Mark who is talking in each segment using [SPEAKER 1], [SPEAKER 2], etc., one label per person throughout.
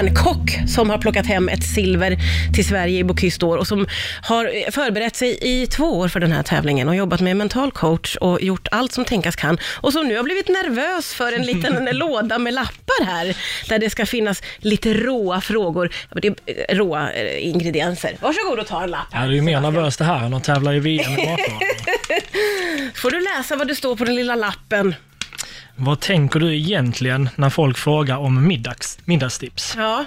[SPEAKER 1] stjärnkock som har plockat hem ett silver till Sverige i Bocuse d'Or och som har förberett sig i två år för den här tävlingen och jobbat med mental coach och gjort allt som tänkas kan och som nu har blivit nervös för en liten låda med lappar här där det ska finnas lite råa frågor, det är råa eh, ingredienser. Varsågod och ta en lapp.
[SPEAKER 2] Ja, det är ju mer nervöst det här än att tävla i VM i matlagning.
[SPEAKER 1] Får du läsa vad det står på den lilla lappen?
[SPEAKER 2] Vad tänker du egentligen när folk frågar om middags, middagstips?
[SPEAKER 1] Ja.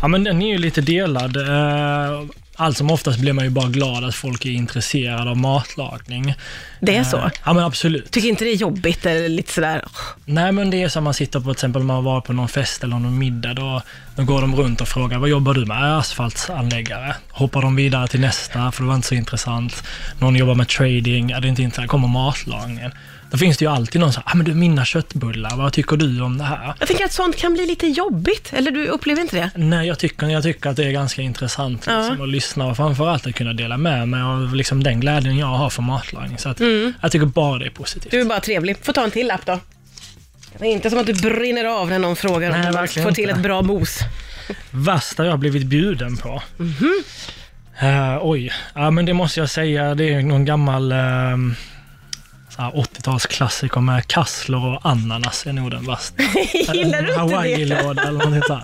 [SPEAKER 2] Ja, men den är ju lite delad. Eh, Allt som oftast blir man ju bara glad att folk är intresserade av matlagning.
[SPEAKER 1] Det är så?
[SPEAKER 2] Eh, Ja, men absolut.
[SPEAKER 1] Tycker inte det är jobbigt eller lite sådär, "Åh,
[SPEAKER 2] Nej, men det är som man sitter på, till exempel om man var på någon fest eller någon middag, då, då går de runt och frågar vad jobbar du med? "Jag är Asfaltsanläggare. Hoppar de vidare till nästa, för det var inte så intressant. Någon jobbar med trading, ja, det är inte intressant. Kommer matlagningen. Då finns det ju alltid någon som säger, ah, men du mina köttbullar, vad tycker du om det här?
[SPEAKER 1] jag tänker att sånt kan bli lite jobbigt, eller du upplever inte det?
[SPEAKER 2] Nej, jag tycker, jag tycker att det är ganska intressant liksom, att lyssna och framförallt att kunna dela med mig av liksom, den glädjen jag har för matlagning. Så att, jag tycker bara det är positivt.
[SPEAKER 1] Du är bara trevlig. Få ta en till lapp då. Det är inte som att du brinner av när någon frågar
[SPEAKER 2] Nej,
[SPEAKER 1] om du
[SPEAKER 2] verkligen
[SPEAKER 1] får till
[SPEAKER 2] inte.
[SPEAKER 1] ett bra mos.
[SPEAKER 2] värsta jag har blivit bjuden på.
[SPEAKER 1] Mhm.
[SPEAKER 2] Eh, oj, ja men det måste jag säga, det är någon gammal ehm, så här 80-talsklassiker med kassler och ananas är nog den värsta.
[SPEAKER 1] Gillar du inte det?
[SPEAKER 2] Hawaii-låda eller någonting sånt.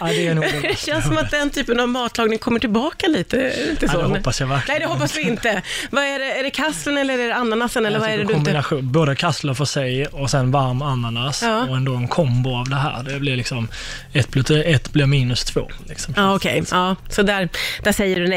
[SPEAKER 2] Ja, det är nog den
[SPEAKER 1] Det
[SPEAKER 2] värsta.
[SPEAKER 1] känns som att den typen av matlagning kommer tillbaka lite. är inte
[SPEAKER 2] Ja,
[SPEAKER 1] så?
[SPEAKER 2] det hoppas jag verkligen.
[SPEAKER 1] Nej, det hoppas vi inte. Vad är det, är det kasslen eller är det ananasen eller
[SPEAKER 2] Jag
[SPEAKER 1] vad är det
[SPEAKER 2] tycker
[SPEAKER 1] du inte...
[SPEAKER 2] Alltså, kombination, Både kassler för sig och sen varm ananas
[SPEAKER 1] Ja.
[SPEAKER 2] och ändå en kombo av det här. Det blir liksom, ett blir, ett blir minus två. Liksom.
[SPEAKER 1] Ja, okej. Ja, så där, där säger du nej.